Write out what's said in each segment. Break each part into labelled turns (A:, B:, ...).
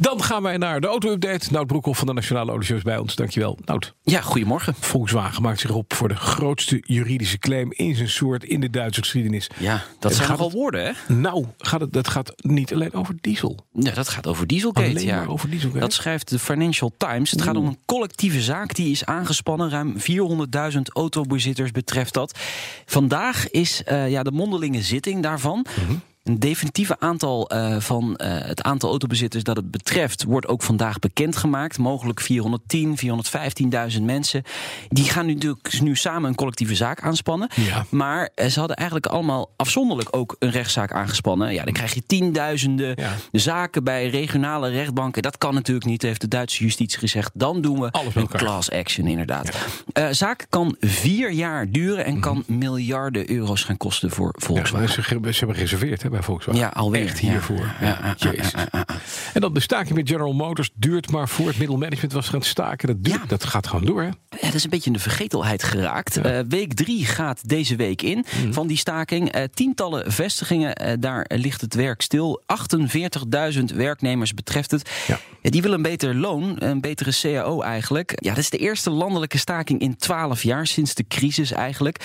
A: Dan gaan wij naar de auto-update. Nout Broekhoff van de Nationale Autoshows bij ons. Dankjewel, Nout.
B: Ja, goedemorgen.
A: Volkswagen maakt zich op voor de grootste juridische claim in zijn soort in de Duitse geschiedenis.
B: Ja, dat
A: En
B: zijn
A: gaat
B: nogal woorden, hè?
A: het- Nou, gaat het, dat gaat niet alleen over diesel.
B: Ja, dat gaat over Dieselgate.
A: Alleen
B: ja.
A: maar over Dieselgate?
B: Dat schrijft de Financial Times. Het gaat om een collectieve zaak die is aangespannen. Ruim 400.000 autobezitters betreft dat. Vandaag is eh, ja, de mondelinge zitting daarvan. Een definitieve aantal eh, van eh, het aantal autobezitters dat het betreft wordt ook vandaag bekendgemaakt. Mogelijk 410, 415.000 mensen. Die gaan nu natuurlijk nu samen een collectieve zaak aanspannen.
A: Ja.
B: Maar eh, ze hadden eigenlijk allemaal afzonderlijk ook een rechtszaak aangespannen. Ja, dan krijg je tienduizenden
A: Ja.
B: zaken bij regionale rechtbanken. Dat kan natuurlijk niet, heeft de Duitse justitie gezegd. Dan doen we
A: Alles bij
B: een
A: elkaar.
B: class action, inderdaad. Eh, zaak kan vier jaar duren en kan
A: Mhm.
B: miljarden euro's gaan kosten voor
A: Ja, ze,
B: Volkswagen.
A: ze hebben gereserveerd hè, bij Volkswagen.
B: Ja, alweer,
A: Echt
B: ja.
A: hiervoor. Ja,
B: Ja, ja, ja,
A: jezus. En dan de staking met General Motors duurt maar voor. Het middelmanagement was gaan staken. Dat, duurt,
B: Ja.
A: dat gaat gewoon door, hè?
B: Ja, dat is een beetje in de vergetelheid geraakt. Eh, week drie gaat deze week in van die staking. Eh, tientallen vestigingen, eh, daar eh, ligt het werk stil. 48.000 werknemers betreft het.
A: Ja.
B: Ja, die willen een beter loon, een betere cao eigenlijk. Ja, dat is de eerste landelijke staking in 12 jaar, sinds de crisis eigenlijk.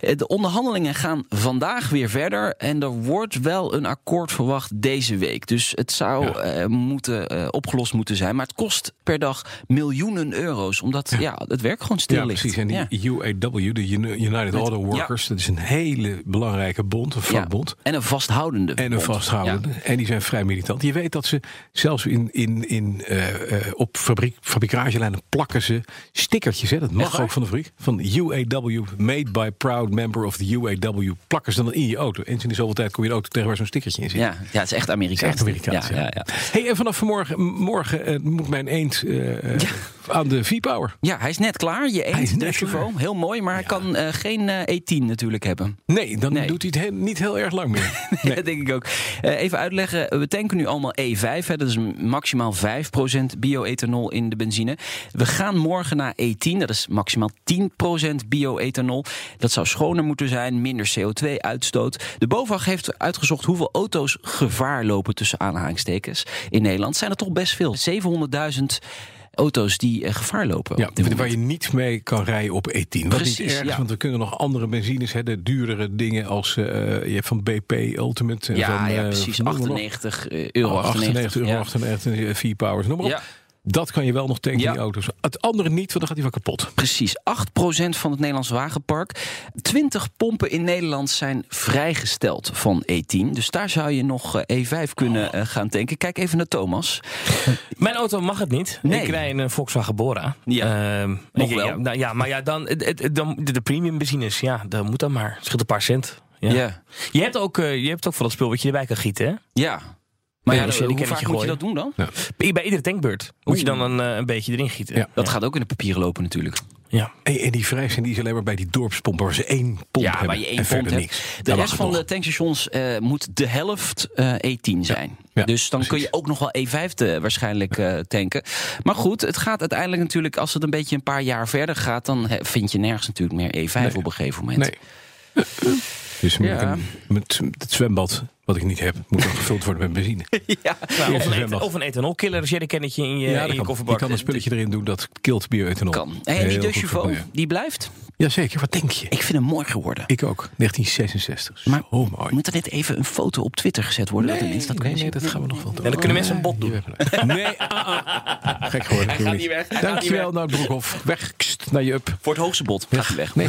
B: Eh, De onderhandelingen gaan vandaag weer verder. En er wordt wel een akkoord verwacht deze week. Dus het zou
A: Ja.
B: eh, moeten, eh, opgelost moeten zijn. Maar het kost per dag miljoenen euro's, omdat ja. het werk gewoon stil
A: Ja,
B: ligt.
A: precies. En die
B: Ja.
A: UAW, de Uni- United Auto Workers, dat is een hele belangrijke bond, een
B: Ja.
A: vakbond.
B: En een vasthoudende.
A: En een
B: bond.
A: vasthoudende.
B: Ja.
A: En die zijn vrij militant. Je weet dat ze zelfs in, in, in, eh, eh, op fabriek, fabrikagelijnen plakken ze stickertjes. Hè? Dat mag
B: waar?
A: ook van de fabriek. Van UAW, made by proud member of the UAW. Plakken ze dan in je auto. Eens in de zoveel tijd kom je in de auto tegen waar zo'n stickertje in zit.
B: Ja, ja, het is echt Amerikaans.
A: Echt Amerikaans.
B: Ja, ja, ja.
A: Hey, en vanaf vanmorgen morgen, eh, moet mijn eend eh, eh, aan de V-Power.
B: Ja, hij is net klaar. Je
A: is
B: eet
A: net
B: Deschavo. Heel mooi, maar hij kan eh, geen eh, E10 natuurlijk hebben.
A: Nee, dan
B: Nee.
A: doet hij het heel- niet heel erg lang meer. Nee.
B: Dat denk ik ook. Eh, even uitleggen. We tanken nu allemaal E5. Hè. Dat is maximaal 5% bioethanol in de benzine. We gaan morgen naar E10. Dat is maximaal 10% bioethanol. Dat zou schoner moeten zijn. Minder CO2-uitstoot. De BOVAG heeft uitgezocht hoeveel auto's gevaar lopen tussen aanhalingstekens. In Nederland zijn er toch best veel. 700.000 auto's die eh, gevaar lopen.
A: Ja,
B: op dit
A: waar
B: moment.
A: je niet mee kan rijden op E10. Wat niet
B: Precies,
A: erg, is,
B: ja.
A: want we kunnen nog andere benzines, hè, de duurdere dingen als eh, je hebt van BP Ultimate. en
B: ja,
A: van,
B: ja,
A: eh,
B: precies.
A: van noem maar op.
B: 98 eh, euro.
A: 98 euro,
B: ja.
A: 98, vier powers, noem maar
B: Ja.
A: op. Dat kan je wel nog tanken in
B: Ja.
A: die auto's. Het andere niet, want dan gaat hij wel kapot.
B: Precies, 8% van het Nederlands wagenpark. 20 pompen in Nederland zijn vrijgesteld van E10. Dus daar zou je nog eh, E5 kunnen eh, gaan tanken. Kijk even naar Thomas.
C: Mijn auto mag het niet.
B: Nee.
C: Ik rij een eh, Volkswagen Bora.
B: Ja,
C: Ehm,
B: nog
C: ik-
B: wel.
C: Ja, nou ja, maar ja, dan, het- het- dan de, de premium benzines, ja, dat moet dan maar. Het scheelt een paar cent. Ja.
B: Ja.
C: Je, hebt ook, eh, je hebt ook van dat spul wat je erbij kan gieten, hè?
B: Ja. Maar ja,
C: dat is
B: hoe
C: een
B: vaak moet
C: kennetje
B: je
C: gooien.
B: dat doen dan?
C: Bij, bij iedere tankbeurt moet je dan een, eh, een beetje erin gieten.
A: Ja.
B: Dat gaat ook in de papieren lopen natuurlijk.
C: Ja.
A: En, en die vrij zijn, die is alleen maar bij die dorpspomp, waar ze één pomp
B: ja,
A: hebben.
B: waar je één
A: en
B: pomp
A: verder
B: hebt.
A: niks.
B: De
A: Daar
B: rest
A: mag
B: van
A: het
B: de tankstations eh, moet de helft eh, E10 zijn.
A: ja,
B: dus dan kun
A: precies.
B: je ook nog wel E5 te- waarschijnlijk eh, tanken. Maar goed, het gaat uiteindelijk natuurlijk... als het een beetje een paar jaar verder gaat... dan eh, vind je nergens natuurlijk meer E5 op een gegeven moment.
A: Nee. Dus moet
B: Ja.
A: ik een- met het zwembad, wat ik niet heb, moet dan gevuld worden met benzine.
B: Ja.
C: Nou, of,
A: Eerste
C: een
A: zwembad.
C: ethanol, of een ethanolkiller, een jerrycannetje in je,
A: Ja,
C: in
A: dat
C: je
A: kan.
C: kofferbak.
A: Je kan dus een spulletje erin doen dat kilt bioethanol.
B: Kan. Hey, en die
A: Heel
B: de
A: goed voor
B: Chauveau,
A: het milieu.
B: die blijft?
A: Jazeker, wat denk je?
B: Ik vind hem mooi geworden.
A: Ik ook. 1966.
B: Maar-
A: Zo mooi.
B: Moet er net even een foto op Twitter gezet worden? dat de mensen dat
A: nee,
B: kunnen
A: nee,
B: zien?
A: dat gaan we nog wel doen.
C: En dan kunnen mensen een bot doen.
A: Nee, ah, ah. gek geworden. Hij
C: gaat niet weg, hij gaat
A: Dankjewel, nou Broekhoff. Weg kst, naar je up.
B: Voor het hoogste bod gaat hij weg.
A: Nee.